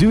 Du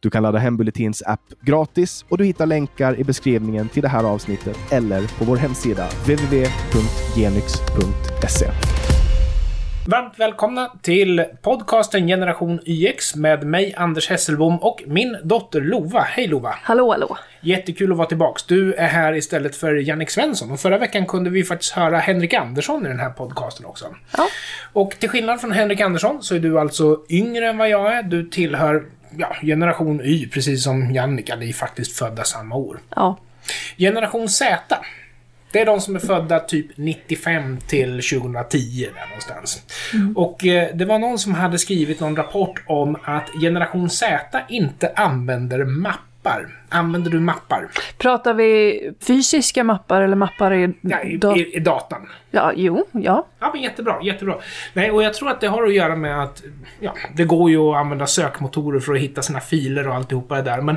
Du kan ladda hem Bulletins app gratis och du hittar länkar i beskrivningen till det här avsnittet eller på vår hemsida www.genyx.se. Varmt välkomna till podcasten Generation YX med mig Anders Hesselbom och min dotter Lova. Hej Lova! Hallå, hallå. Jättekul att vara tillbaks. Du är här istället för Jannik Svensson och förra veckan kunde vi faktiskt höra Henrik Andersson i den här podcasten också. Ja. Och till skillnad från Henrik Andersson så är du alltså yngre än vad jag är. Du tillhör ja, generation Y, precis som Jannica. Ni är faktiskt födda samma år. Ja. Generation Z. Det är de som är födda typ 95 till 2010 där någonstans. Och eh, det var någon som hade skrivit någon rapport om att generation Z inte använder mappar. Använder du mappar? Pratar vi fysiska mappar eller mappar i... Ja, i, da- i, i datan. ja jo, ja. Ja, men jättebra, jättebra. Nej, och jag tror att det har att göra med att ja, det går ju att använda sökmotorer för att hitta sina filer och alltihopa det där. Men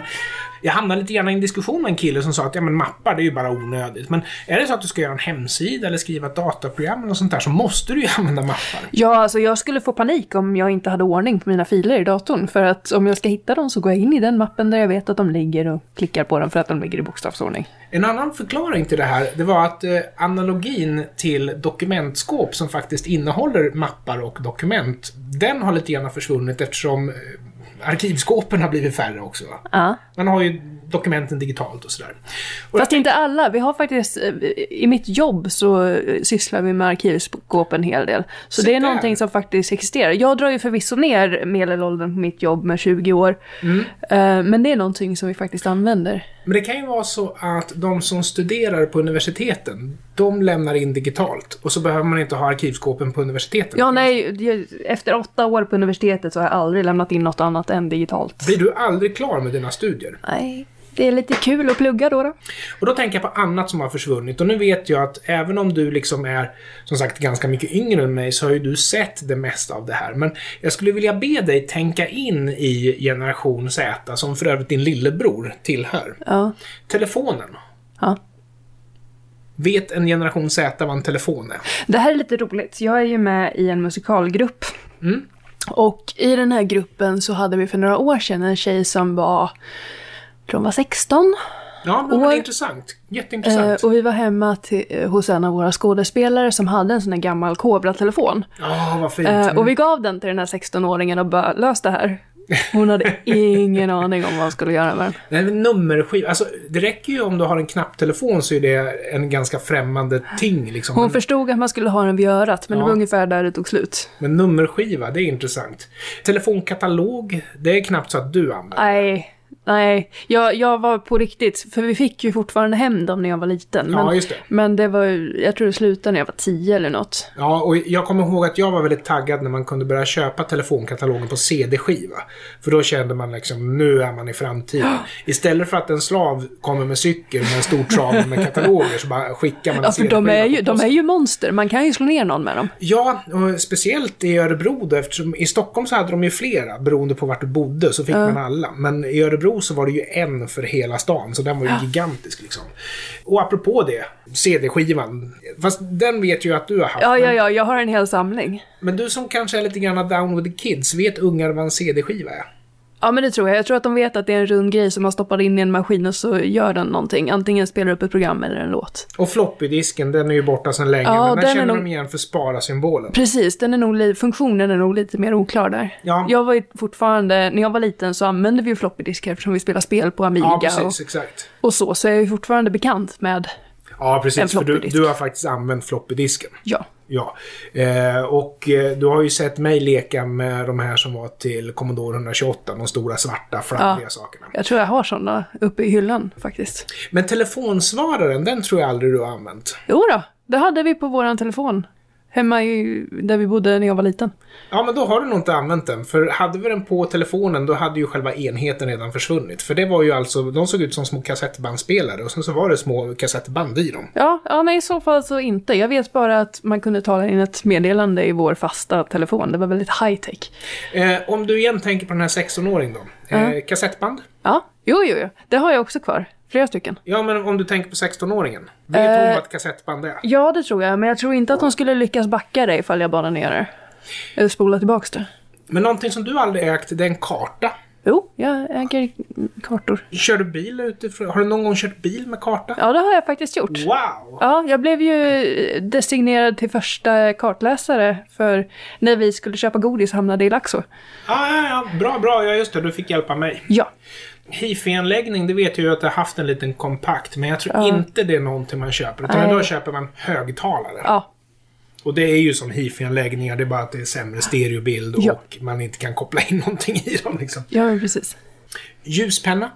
jag hamnade lite grann i en diskussion med en kille som sa att ja, men mappar, det är ju bara onödigt. Men är det så att du ska göra en hemsida eller skriva ett dataprogram eller sånt där så måste du ju använda mappar. Ja, alltså jag skulle få panik om jag inte hade ordning på mina filer i datorn. För att om jag ska hitta dem så går jag in i den mappen där jag vet att de ligger och klickar på dem för att de ligger i bokstavsordning. En annan förklaring till det här, det var att eh, analogin till dokumentskåp som faktiskt innehåller mappar och dokument, den har lite grann försvunnit eftersom eh, arkivskåpen har blivit färre också. Va? Ja. Man har ju dokumenten digitalt och sådär. Och Fast inte alla. Vi har faktiskt... eh, I mitt jobb så eh, sysslar vi med arkivskåp en hel del. Så Se det är där. någonting som faktiskt existerar. Jag drar ju förvisso ner medelåldern på mitt jobb med 20 år. Mm. Eh, Men det är någonting som vi faktiskt använder. Men det kan ju vara så att de som studerar på universiteten, de lämnar in digitalt och så behöver man inte ha arkivskåpen på universiteten. Ja, nej, det- efter åtta år på universitetet så har jag aldrig lämnat in något annat än digitalt. Blir du aldrig klar med dina studier? Nej, det är lite kul att plugga då. då. Och då tänker jag på annat som har försvunnit. Och nu vet jag att även om du liksom är, som sagt, ganska mycket yngre än mig, så har ju du sett det mesta av det här. Men jag skulle vilja be dig tänka in i generation Z, som för övrigt din lillebror tillhör. Ja, Telefonen. ja. Vet en generation Z vad en telefon är? Det här är lite roligt. Jag är ju med i en musikalgrupp. Och i den här gruppen så hade vi för några år sedan en tjej som var, jag tror hon var 16. Ja, men det är År. intressant. Eh, Jätteintressant. och vi var hemma till, eh, hos en av våra skådespelare som hade en sån här gammal Kobra-telefon. Ja, vad fint. Eh, och vi gav den till den här 16-åringen och bara, lös det här. Hon hade ingen aning om vad hon skulle göra med den. Mm. Nej, men nummerskiva. Alltså, det räcker ju om du har en knapptelefon så är det en ganska främmande ting. Liksom. Hon Men, förstod att man skulle ha den vid örat, men Ja. det var ungefär där det tog slut. men nummerskiva, det är intressant. Telefonkatalog, det är knappt så att du använder. Nej, nej. Jag, jag var på riktigt, för vi fick ju fortfarande hem dem när jag var liten. Men, Ja, just det. men det var, ju- jag tror det slutade när jag var tio eller något. Ja, och jag kommer ihåg att jag var väldigt taggad när man kunde börja köpa telefonkatalogen på CD-skiva. För då kände man liksom, nu är man i framtiden. Istället för att en slav kommer med cykel med en stor trave med kataloger så bara skickar man en Ja, för Alltså, de CD-skiva är, på ju, de posten. är ju monster, man kan ju slå ner någon med dem. Ja, och speciellt i Örebro då, eftersom i Stockholm så hade de ju flera beroende på vart du bodde så fick man alla. Men i Örebro så var det ju en för hela stan så den Ah. var ju gigantisk liksom. Och apropå det, CD-skivan. Fast den vet ju att du har haft. Ja, men, ja, ja, jag har en hel samling. men du som kanske är lite grann down with the kids, vet ungar vad en CD-skiva är? Ja, men det tror jag. Jag tror att de vet att det är en rund grej som man stoppar in i en maskin och så gör den någonting. Antingen spelar upp ett program eller en låt. Och floppydisken, den är ju borta sedan länge. men Ja, den, den är känner nog- de igen för spara-symbolen. Precis, den är nog, li- funktionen är nog lite mer oklar där. Ja. Jag var ju fortfarande, när jag var liten så använde vi ju floppydiskar eftersom vi spelade spel på Amiga Ja, och, precis. Exakt. och så, så jag är ju fortfarande bekant med, Ja, En precis. För du, floppydisk. du har faktiskt använt floppydisken. ja. Ja, eh, och eh, du har ju sett mig leka med de här som var till Commodore 128, de stora svarta fladdriga sakerna. Jag tror jag har sådana uppe i hyllan faktiskt. Men telefonsvararen, den tror jag aldrig du har använt. Jo då, det hade vi på våran telefon Hemma i, där vi bodde när jag var liten. Ja, men då har du nog inte använt den. För hade vi den på telefonen, då hade ju själva enheten redan försvunnit. För det var ju alltså, de såg ut som små kassettbandspelare och sen så var det små kassettband i dem. Ja, ja nej, i så fall så inte. Jag vet bara att man kunde tala in ett meddelande i vår fasta telefon. Det var väldigt high-tech. Eh, om du igen tänker på den här 16-åringen då. Eh, Kassettband? Ja, jo, jo, jo. Det har jag också kvar. Flera stycken. Ja, men om du tänker på 16-åringen. Vet hon vad ett kassettband är? Ja, det tror jag. Men jag tror inte att de skulle lyckas backa det ifall jag bara ner det. Eller spola tillbaks det. Men någonting som du aldrig ägt, det är en karta. Jo, jag äger kartor. Kör du bil utifrån? Har du någon gång kört bil med karta? Ja, det har jag faktiskt gjort. Wow! Ja, jag blev ju designerad till första kartläsare för när vi skulle köpa godis och hamnade i Laxå. Ja, ja, ja. Bra, bra. Ja, just det. Du fick hjälpa mig. Ja. Hifi-anläggning, det vet jag ju att jag haft en liten kompakt, men jag tror inte det är någonting man köper. Utan Nej. idag köper man högtalare. Ja. Och det är ju som hifi-anläggningar, det är bara att det är sämre stereobild och Ja. man inte kan koppla in någonting i dem. Liksom. Ja, men precis. Ljuspenna?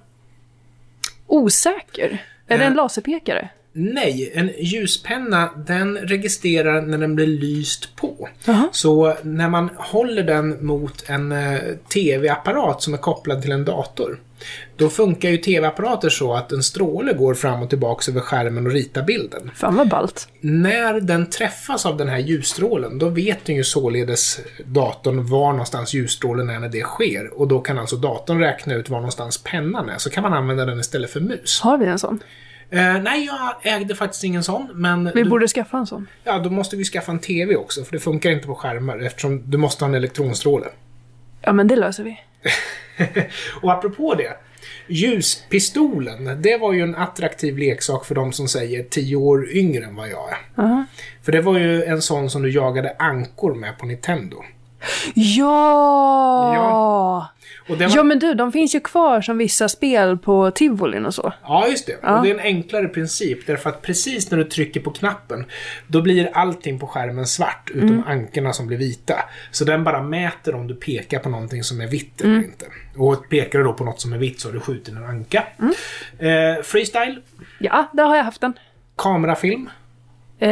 Osäker? Är det en Eh. laserpekare? Nej, en ljuspenna den registrerar när den blir lyst på. Jaha. Så när man håller den mot en eh, TV-apparat som är kopplad till en dator, då funkar ju TV-apparater så att en stråle går fram och tillbaks över skärmen och ritar bilden. Fan vad ballt. När den träffas av den här ljusstrålen, då vet den ju således datorn var någonstans ljusstrålen är när det sker. Och då kan alltså datorn räkna ut var någonstans pennan är, så kan man använda den istället för mus. Har vi en sån? Eh, nej, jag ägde faktiskt ingen sån, men Vi du- borde skaffa en sån. Ja, då måste vi skaffa en TV också, för det funkar inte på skärmar eftersom du måste ha en elektronstråle. Ja, men det löser vi. Och apropå det, ljuspistolen, det var ju en attraktiv leksak för de som säger 10 år yngre än vad jag är. Aha. För det var ju en sån som du jagade ankor med på Nintendo. Ja! Ja. Och det var... Ja, men du, de finns ju kvar som vissa spel på tivolin och så. Ja, just det. Ja. Och det är en enklare princip därför att precis när du trycker på knappen då blir allting på skärmen svart utom Mm. ankorna som blir vita. Så den bara mäter om du pekar på någonting som är vitt Mm. eller inte. Och pekar du då på något som är vitt så har du skjutit en anka. Mm. Eh, freestyle, Ja, där har jag haft den. kamerafilm. Eh,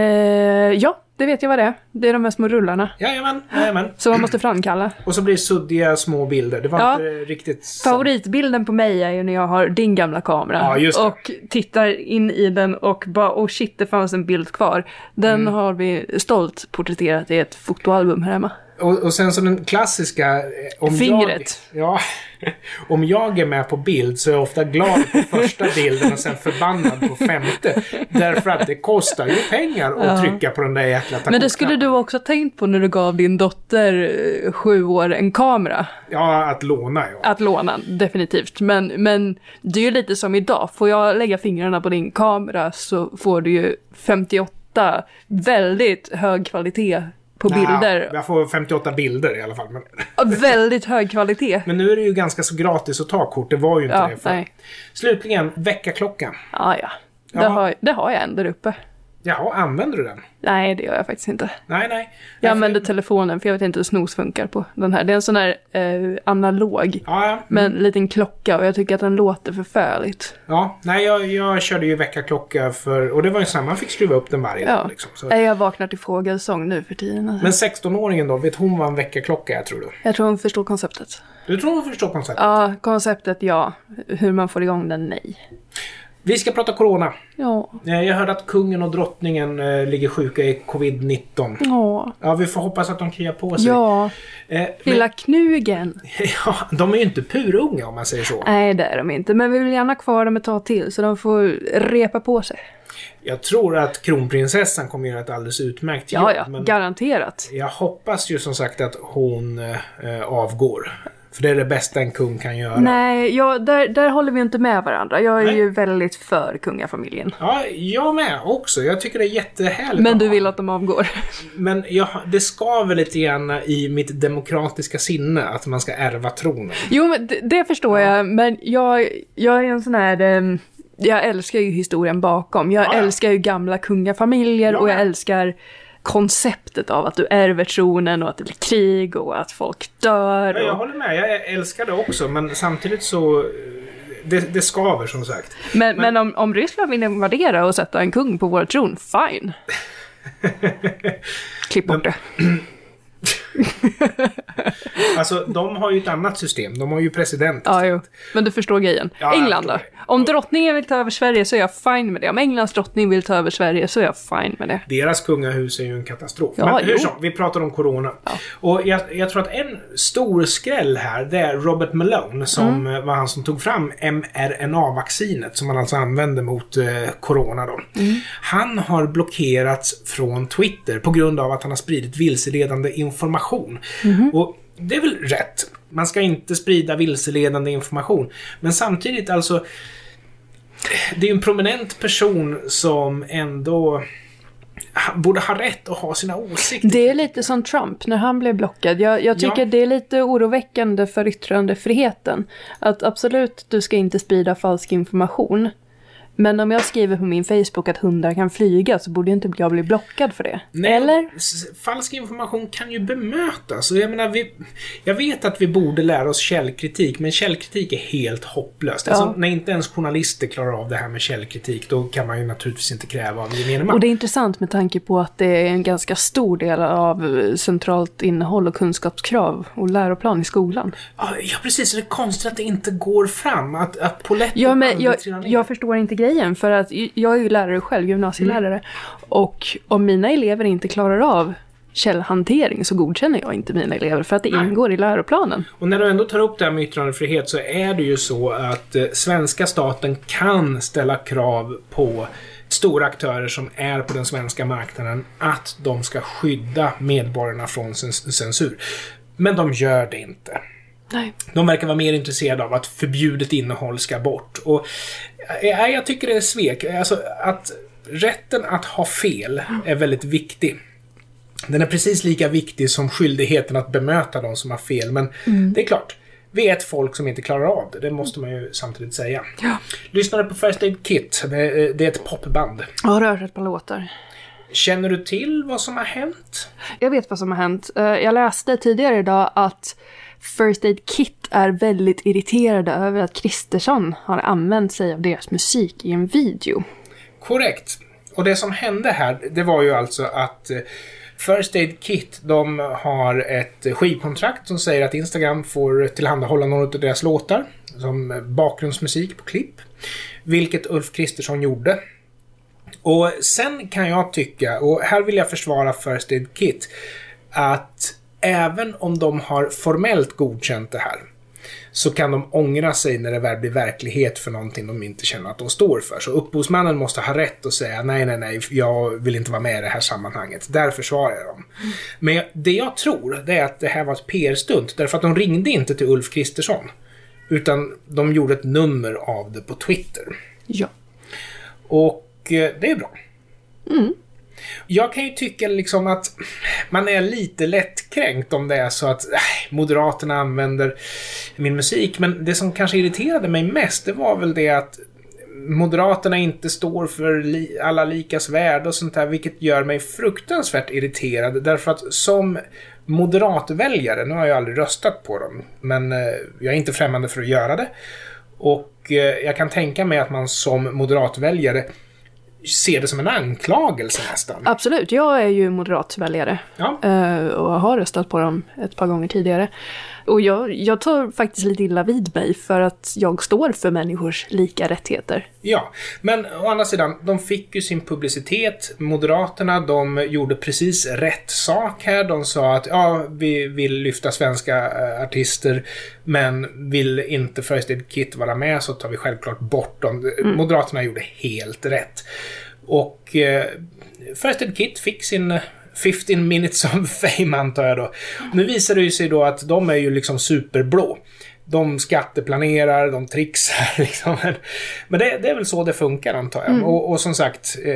ja, det vet jag vad det är. Det är de här små rullarna Jajamän, jajamän. som man måste framkalla. Och så blir det suddiga små bilder. Det var Ja. inte riktigt... sant. Favoritbilden på mig är ju när jag har din gamla kamera Ja, just det. och tittar in i den och bara oh shit det fanns en bild kvar. Den har vi stolt porträtterat i ett fotoalbum här hemma. Och, och sen så den klassiska... eh, Om Fingret. Jag, ja. Om jag är med på bild så är jag ofta glad på första bilden och sen förbannad på femte. Därför att det kostar ju pengar att trycka på den där jäkla Men det skulle tapetknappen. du också ha tänkt på när du gav din dotter eh, sju år en kamera. Ja, att låna ja. Att låna, definitivt. Men, men det är ju lite som idag. Får jag lägga fingrarna på din kamera så får du ju 58 väldigt hög kvalitet på Ja, bilder. jag får 58 bilder i alla fall. Men, Väldigt hög kvalitet. men nu är det ju ganska så gratis att ta kort. Det var ju inte Ja, det förr. nej. Slutligen, väckarklockan. Ja, ja. Det Jaha. har, det har jag en där uppe. Jaha, använder du den? Nej, det gör jag faktiskt inte. Nej, nej. Jag använder telefonen för jag vet inte hur snus funkar på den här. Det är en sån här eh, analog Ja, ja. med en liten klocka och jag tycker att den låter förfärligt. ja. Nej, jag, jag körde ju väckarklocka för... Och det var ju så här, man fick skruva upp den varje Ja. dag. Liksom, så. Nej, Jag vaknar till fågelsång nu för tiden. alltså. Men 16-åringen då, vet hon vad en väckarklocka är tror du? Jag tror hon förstår konceptet. Du tror hon förstår konceptet? Ja, konceptet ja. Hur man får igång den, nej. Vi ska prata corona. Ja. Eh, Jag hörde att kungen och drottningen eh, ligger sjuka i covid-19. Ja. Ja, vi får hoppas att de kryar på sig. Ja. Eh, Alltså, men, Lilla knugen. ja de är ju inte purunga om man säger så. Nej, det är de inte. Men vi vill gärna ha kvar dem ett tag till så de får repa på sig. Jag tror att kronprinsessan kommer göra ett alldeles utmärkt jobb. Ja, ja. men Garanterat. jag hoppas ju som sagt att hon eh, eh, avgår. För det är det bästa en kung kan göra. Nej, jag, där, där håller vi inte med varandra. Jag är Nej. ju väldigt för kungafamiljen. Ja, jag med också. Jag tycker det är jättehärligt. Men att du ha vill att de avgår? Men jag, det skaver lite grann i mitt demokratiska sinne att man ska ärva tronen. Jo, men det, det förstår jag. Men jag, jag är en sån här... ehm, jag älskar ju historien bakom. Jag Ja, ja. älskar ju gamla kungafamiljer Ja, och jag ja. älskar konceptet av att du ärver tronen och att det blir krig och att folk Ja, dör. jag Och, håller med, jag älskar det också men samtidigt så... eh, Det, det skaver som sagt. men men om, om Ryssland vill invadera och sätta en kung på vår tron, fine. Klipp bort det. Alltså, de har ju ett annat system. De har ju president. Ja, jo. Men du förstår grejen. Ja, jag England då? förstår Om drottningen vill ta över Sverige så är jag fine med det. Om Englands drottning vill ta över Sverige så är jag fine med det. Deras kungahus är ju en katastrof. Ja, Men hur jo. som, vi pratar om corona. Och jag, jag tror att en stor skräll här, det är Robert Malone Mm. som eh, var han som tog fram mRNA-vaccinet som man alltså använde mot eh, corona då. Mm. Han har blockerats från Twitter på grund av att han har spridit vilseledande information. Mm-hmm. Och det är väl rätt. Man ska inte sprida vilseledande information. Men samtidigt alltså, det är ju en prominent person som ändå ha- borde ha rätt att ha sina åsikter. Det är lite som Trump när han blev blockad. Jag, jag tycker Ja. det är lite oroväckande för yttrandefriheten. Att absolut, du ska inte sprida falsk information. Men om jag skriver på min Facebook att hundar kan flyga så borde ju inte jag bli blockad för det. Nej, Eller? s- Falsk information kan ju bemötas. Och jag, menar, vi, jag vet att vi borde lära oss källkritik, men källkritik är helt hopplöst. Ja. Alltså, när inte ens journalister klarar av det här med källkritik, då kan man ju naturligtvis inte kräva av gemene man. Och det är intressant med tanke på att det är en ganska stor del av eh, centralt innehåll och kunskapskrav och läroplan i skolan. Ja, Ja, precis. Det är konstigt att det inte går fram. Att, att polletten Ja, men aldrig jag, trillar ner. jag förstår inte grejen, för att j- jag är ju lärare själv, gymnasielärare. Och om mina elever inte klarar av källhantering så godkänner jag inte mina elever, för att det ingår i läroplanen. Och när du ändå tar upp det här med yttrandefrihet så är det ju så att eh, svenska staten kan ställa krav på stora aktörer som är på den svenska marknaden att de ska skydda medborgarna från cens- censur. Men de gör det inte. Nej. De verkar vara mer intresserade av att förbjudet innehåll ska bort. Och, eh, jag, jag tycker det är svek. Alltså, att rätten att ha fel är väldigt viktig. Den är precis lika viktig som skyldigheten att bemöta de som har fel. Men det är klart, vi är ett folk som inte klarar av det. Det måste man ju samtidigt säga. Ja. Lyssnade på First Aid Kit. Det är eh, det är ett popband. Jag har hört ett par låtar. Känner du till vad som har hänt? Jag vet vad som har hänt. Eh, Jag läste tidigare idag att First Aid Kit är väldigt irriterade över att Kristersson har använt sig av deras musik i en video. Korrekt. Och det som hände här, det var ju alltså att eh, First Aid Kit, de har ett skivkontrakt som säger att Instagram får tillhandahålla några av deras låtar som bakgrundsmusik på klipp. Vilket Ulf Kristersson gjorde. Och sen kan jag tycka, och här vill jag försvara First Aid Kit, att även om de har formellt godkänt det här så kan de ångra sig när det väl blir verklighet för någonting de inte känner att de står för. Så upphovsmannen måste ha rätt att säga nej, nej, nej, jag vill inte vara med i det här sammanhanget. Där försvarar jag dem. Men jag- det jag tror, det är att det här var ett PR-stunt. Därför att de ringde inte till Ulf Kristersson. Utan de gjorde ett nummer av det på Twitter. Ja. Och eh, det är bra. Jag kan ju tycka liksom att man är lite lättkränkt om det är så att eh, Moderaterna använder min musik. Men det som kanske irriterade mig mest, det var väl det att Moderaterna inte står för li alla likas värde och sånt där, vilket gör mig fruktansvärt irriterad. Därför att som moderatväljare, nu har jag aldrig röstat på dem, men eh, jag är inte främmande för att göra det. Och eh, jag kan tänka mig att man som moderatväljare ser det som en anklagelse nästan. Absolut, jag är ju moderatväljare. Ja. Eh, och har röstat på dem ett par gånger tidigare. Och jag, jag tar faktiskt lite illa vid mig för att jag står för människors lika rättigheter. Ja, men å andra sidan, de fick ju sin publicitet. Moderaterna, de gjorde precis rätt sak här. De sa att ja, vi vill lyfta svenska eh, artister, men vill inte First Aid Kit vara med så tar vi självklart bort dem. Moderaterna gjorde helt rätt. Och eh, First Aid Kit fick sin 15 minutes of fame antar jag då. Nu visar det ju sig då att de är ju liksom superblå. De skatteplanerar, de trixar liksom. Men det, det är väl så det funkar antar Mm. jag. Och, och som sagt, eh,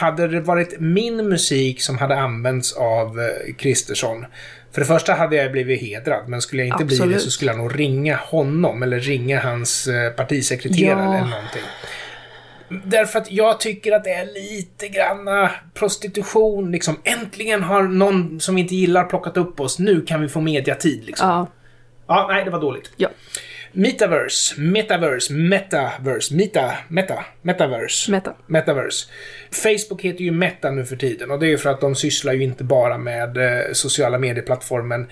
hade det varit min musik som hade använts av eh, Kristersson. För det första hade jag blivit hedrad, men skulle jag inte bli det så Absolut. skulle jag nog ringa honom eller ringa hans eh, partisekreterare Ja. eller någonting. Därför att jag tycker att det är lite granna prostitution liksom. Äntligen har någon som vi inte gillar plockat upp oss. Nu kan vi få mediatid liksom. Ja, Ja, nej, det var dåligt. ja. Metaverse, metaverse, metaverse, meta, meta, metaverse. Meta. Metaverse. Facebook heter ju Meta nu för tiden och det är ju för att de sysslar ju inte bara med eh, sociala medieplattformen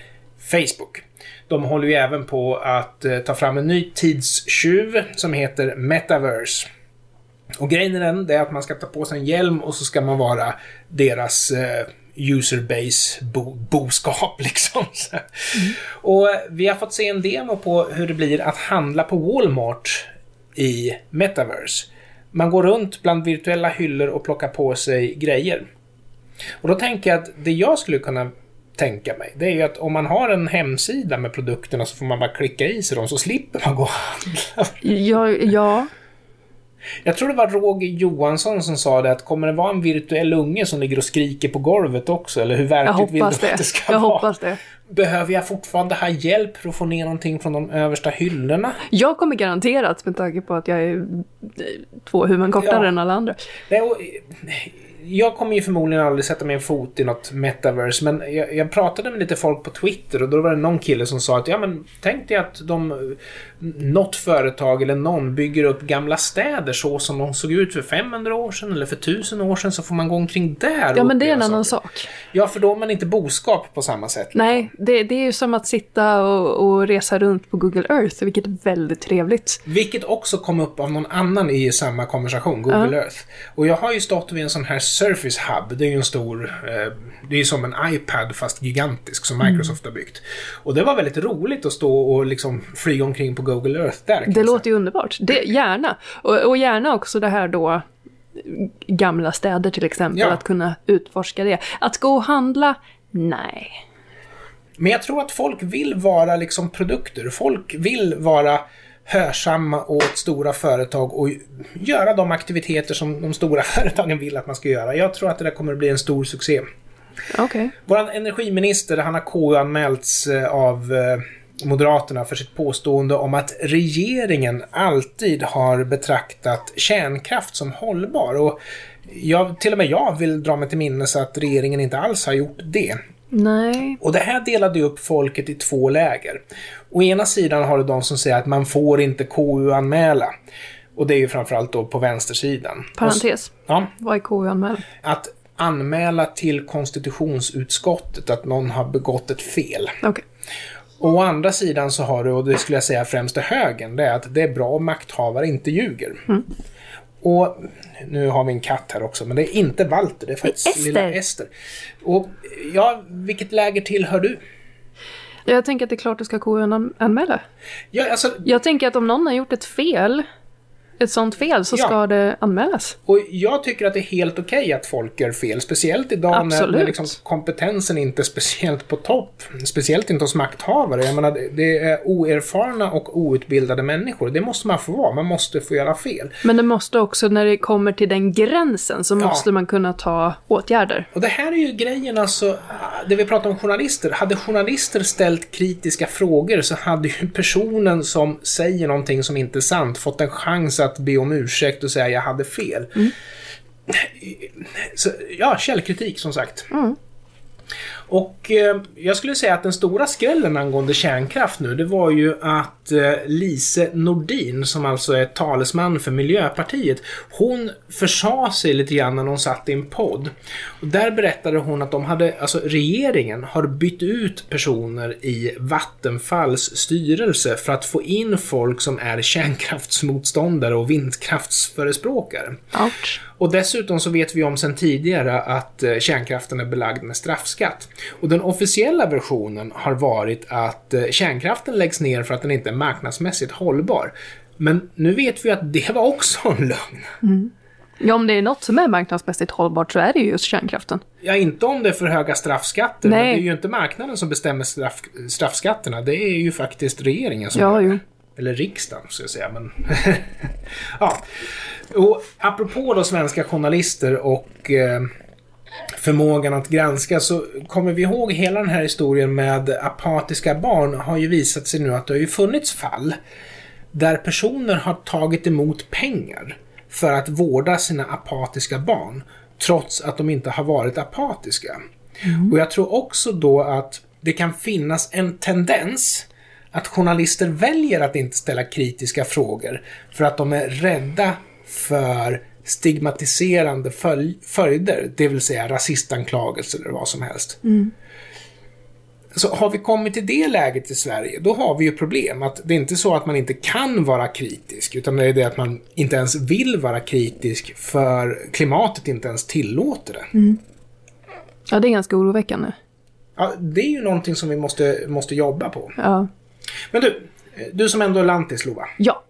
Facebook. De håller ju även på att eh, ta fram en ny tidstjuv som heter Metaverse. Och grejen är den, det är att man ska ta på sig en hjälm och så ska man vara deras eh, userbase bo, boskap liksom. Så. Och vi har fått se en demo på hur det blir att handla på Walmart i Metaverse. Man går runt bland virtuella hyllor och plockar på sig grejer. Och då tänker jag att det jag skulle kunna tänka mig, det är ju att om man har en hemsida med produkterna så får man bara klicka i sig dem så slipper man gå och handla. Ja, ja. Jag tror det var Roger Johansson som sa det att kommer det vara en virtuell unge som ligger och skriker på golvet också? Eller hur jag verkligt vill hoppas du att det. det ska Jag vara? hoppas det. Behöver jag fortfarande ha hjälp för att få ner någonting från de översta hyllorna? Jag kommer garanterat, med tanke på att jag är eh, två huvuden kortare Ja. än alla andra. Nej, och, jag kommer ju förmodligen aldrig sätta min fot i något metaverse, men jag, jag pratade med lite folk på Twitter och då var det någon kille som sa att ja, men tänk dig att de, något företag eller någon bygger upp gamla städer så som de såg ut för 500 år sedan eller för 1000 år sedan så får man gå omkring där. och Ja, men det är en uppleva annan saker. sak. Ja, för då är man inte boskap på samma sätt. Nej, det, det är ju som att sitta och, och resa runt på Google Earth, vilket är väldigt trevligt. Vilket också kom upp av någon annan i samma konversation, Google Earth. Och jag har ju stått vid en sån här Surface Hub. Det är ju en stor... Eh, det är ju som en iPad fast gigantisk som Mm. Microsoft har byggt. Och det var väldigt roligt att stå och liksom flyga omkring på Google Earth där. kan jag Det säga. låter ju underbart. Det, gärna. Och, och gärna också det här då gamla städer till exempel, Ja. att kunna utforska det. Att gå och handla? Nej. Men jag tror att folk vill vara liksom produkter. Folk vill vara hörsamma åt stora företag och göra de aktiviteter som de stora företagen vill att man ska göra. Jag tror att det där kommer att bli en stor succé. Okej. Vår energiminister, han har KU-anmälts eh, av eh, Moderaterna för sitt påstående om att regeringen alltid har betraktat kärnkraft som hållbar. Och jag, till och med jag vill dra mig till minnes att regeringen inte alls har gjort det. Nej. Och det här delade ju upp folket i två läger. Å ena sidan har du de som säger att man får inte KU-anmäla. Och det är ju framförallt då på vänstersidan. Och s- Parentes. Ja, Vad är KU-anmälan? att anmäla till konstitutionsutskottet att någon har begått ett fel. Okej. Och å andra sidan så har du, och det skulle jag säga främst till högern, det är att det är bra om makthavare inte ljuger. Och nu har vi en katt här också, men det är inte Walter, det är faktiskt Ester. lilla Ester. Och ja, vilket läger tillhör du? Jag tänker att det är klart du ska KU-anmäla. Ja, alltså, Jag tänker att om någon har gjort ett fel, ett sånt fel, så Ja. ska det anmälas. och jag tycker att det är helt okej att folk gör fel, speciellt idag när, när Absolut. liksom kompetensen inte är speciellt på topp. Speciellt inte hos makthavare. Jag menar, det- det är oerfarna och outbildade människor. Det måste man få vara, man måste få göra fel. Men det måste också, när det kommer till den gränsen, så måste man kunna ta åtgärder. Och det här är ju grejen alltså, det vi pratar om journalister. Hade journalister ställt kritiska frågor så hade ju personen som säger någonting som inte är sant fått en chans att be om ursäkt och säga jag hade fel. Så, ja, källkritik som sagt. Och eh, jag skulle säga att den stora skrällen angående kärnkraft nu, det var ju att eh, Lise Nordin, som alltså är talesman för Miljöpartiet, hon försa sig lite grann när hon satt i en podd. Och där berättade hon att de hade, alltså regeringen har bytt ut personer i Vattenfalls styrelse för att få in folk som är kärnkraftsmotståndare och vindkraftsförespråkare. Ouch. Och dessutom så vet vi om sedan tidigare att eh, kärnkraften är belagd med straffskatt. Och den officiella versionen har varit att eh, kärnkraften läggs ner för att den inte är marknadsmässigt hållbar. Men nu vet vi att det var också en lögn. Ja, om det är något som är marknadsmässigt hållbart så är det ju just kärnkraften. Ja, inte om det är för höga straffskatter, men Nej. det är ju inte marknaden som bestämmer straff, straffskatterna. Det är ju faktiskt regeringen som Ja, jo. Eller riksdagen, ska jag säga. Men ja. och apropå då svenska journalister och eh, förmågan att granska så kommer vi ihåg hela den här historien med apatiska barn har ju visat sig nu att det har ju funnits fall där personer har tagit emot pengar för att vårda sina apatiska barn trots att de inte har varit apatiska. Och jag tror också då att det kan finnas en tendens att journalister väljer att inte ställa kritiska frågor för att de är rädda för stigmatiserande följ- följder, det vill säga rasistanklagelser eller vad som helst. Så har vi kommit till det läget i Sverige, då har vi ju problem. Att det är inte så att man inte kan vara kritisk, utan det är det att man inte ens vill vara kritisk för klimatet inte ens tillåter det. Mm. Ja, det är ganska oroväckande. Ja, det är ju någonting som vi måste, måste jobba på. Ja. Men du, du som ändå är lantis Lova. Ja,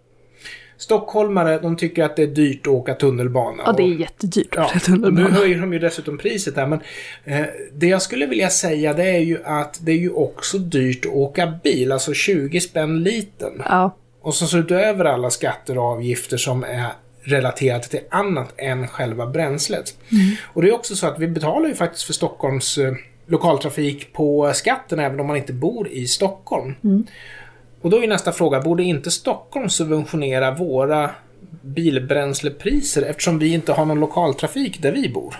Stockholmare, de tycker att det är dyrt att åka tunnelbana. ja det är och- jättedyrt Ja, att åka nu tunnelbana. höjer de ju dessutom priset där, men eh, det jag skulle vilja säga det är ju att det är ju också dyrt att åka bil, alltså 20 spänn liten. Ja, Och så utöver alla skatter och avgifter som är relaterat till annat än själva bränslet. Och det är också så att vi betalar ju faktiskt för Stockholms eh, lokaltrafik på skatten även om man inte bor i Stockholm. Och då är ju nästa fråga, borde inte Stockholm subventionera våra bilbränslepriser eftersom vi inte har någon lokaltrafik där vi bor?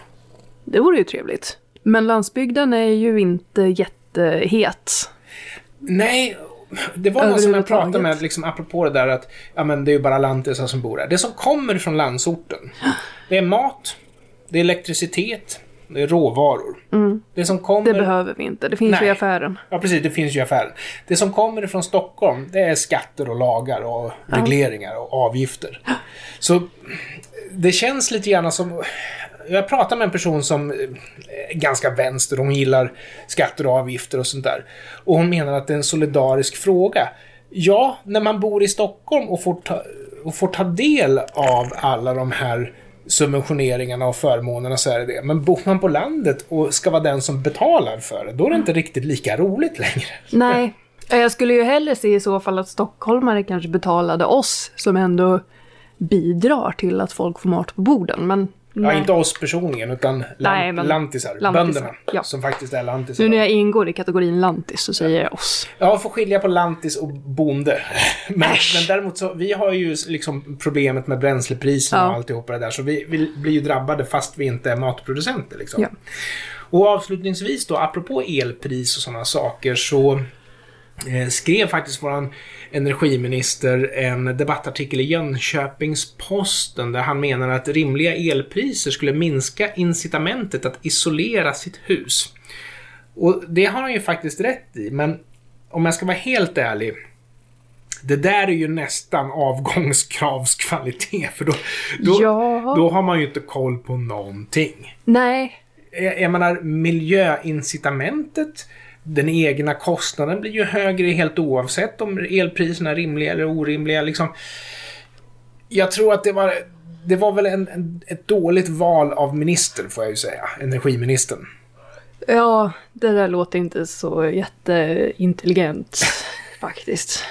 det vore ju trevligt. Men landsbygden är ju inte jättehet. Nej, det var någon som jag Överhuvudtaget. pratade med, liksom, apropå det där att ja, men det är ju bara lantisar som bor här. Det som kommer från landsorten, det är mat, det är elektricitet, det är råvaror. Det som Mm. Det kommer... behöver vi inte. Det finns ju Nej. i affären. ja, precis, det finns ju i affären. Det som kommer från Stockholm, det är skatter och lagar och regleringar och avgifter. Så det känns lite grann som... Jag pratade med en person som eh, är ganska vänster, hon gillar skatter och avgifter och sånt där. Och hon menar att det är en solidarisk fråga. Ja, när man bor i Stockholm och får ta, och får ta del av alla de här subventioneringarna och förmånerna så är det det. Men bor man på landet och ska vara den som betalar för det, då är det inte riktigt lika roligt längre. Nej, jag skulle ju hellre se i så fall att stockholmare kanske betalade oss som ändå bidrar till att folk får mat på borden. Men Ja, nej. inte oss personligen, utan lan- Nej, men- lantisar, lantisar, bönderna. ja. Som faktiskt är lantisar. nu när jag ingår i kategorin lantis så säger jag oss. Ja, får skilja på lantis och bonde. Men, Äsch. men däremot så, vi har ju liksom problemet med bränslepriserna Ja. och alltihopa det där. Så vi, vi blir ju drabbade fast vi inte är matproducenter. Liksom. Ja. Och avslutningsvis då, apropå elpris och sådana saker så eh, skrev faktiskt våran energiminister en debattartikel i Jönköpings-Posten där han menar att rimliga elpriser skulle minska incitamentet att isolera sitt hus. Och det har han ju faktiskt rätt i, men om jag ska vara helt ärlig. Det där är ju nästan avgångskravskvalitet, för då, då, Ja. då har man ju inte koll på någonting. Nej, Eh, Jag jag menar, miljöincitamentet, den egna kostnaden blir ju högre helt oavsett om elpriserna är rimliga eller orimliga. Liksom. Jag tror att det var, det var väl en, en, ett dåligt val av minister, får jag ju säga. Energiministern. ja, det där låter inte så jätteintelligent faktiskt.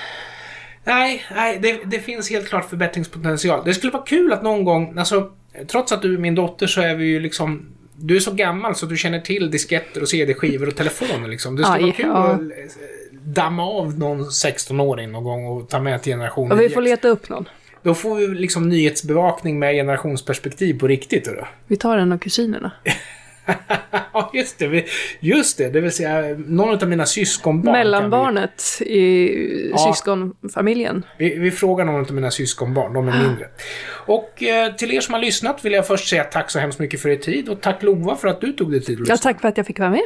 Nej, nej det, det finns helt klart förbättringspotential. Det skulle vara kul att någon gång, alltså, trots att du är min dotter så är vi ju liksom du är så gammal så du känner till disketter och CD-skivor och telefoner liksom. Det skulle Aj, vara kul ja. att eh, damma av någon 16-åring någon gång och ta med till Ja, generationen vi får X. leta upp någon. Då får vi liksom nyhetsbevakning med generationsperspektiv på riktigt. Då. Vi tar en av kusinerna. ja, just det. vi- Just det. Det vill säga, någon av mina syskonbarn. kan vi- Mellanbarnet i Ja. syskonfamiljen. Vi, vi frågar någon av mina syskonbarn, de Ah. är mindre. Och eh, till er som har lyssnat vill jag först säga tack så hemskt mycket för er tid och tack Lova för att du tog dig tid att Ja, lyssna. tack för att jag fick vara med.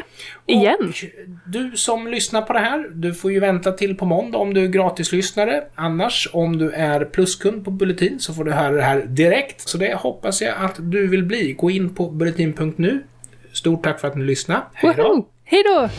Igen. Och du som lyssnar på det här, du får ju vänta till på måndag om du är gratislyssnare. Annars, om du är pluskund på Bulletin så får du höra det här direkt. Så det hoppas jag att du vill bli. Gå in på bulletin.nu. Stort tack för att ni lyssnade. Hej då! Woho! Hej då!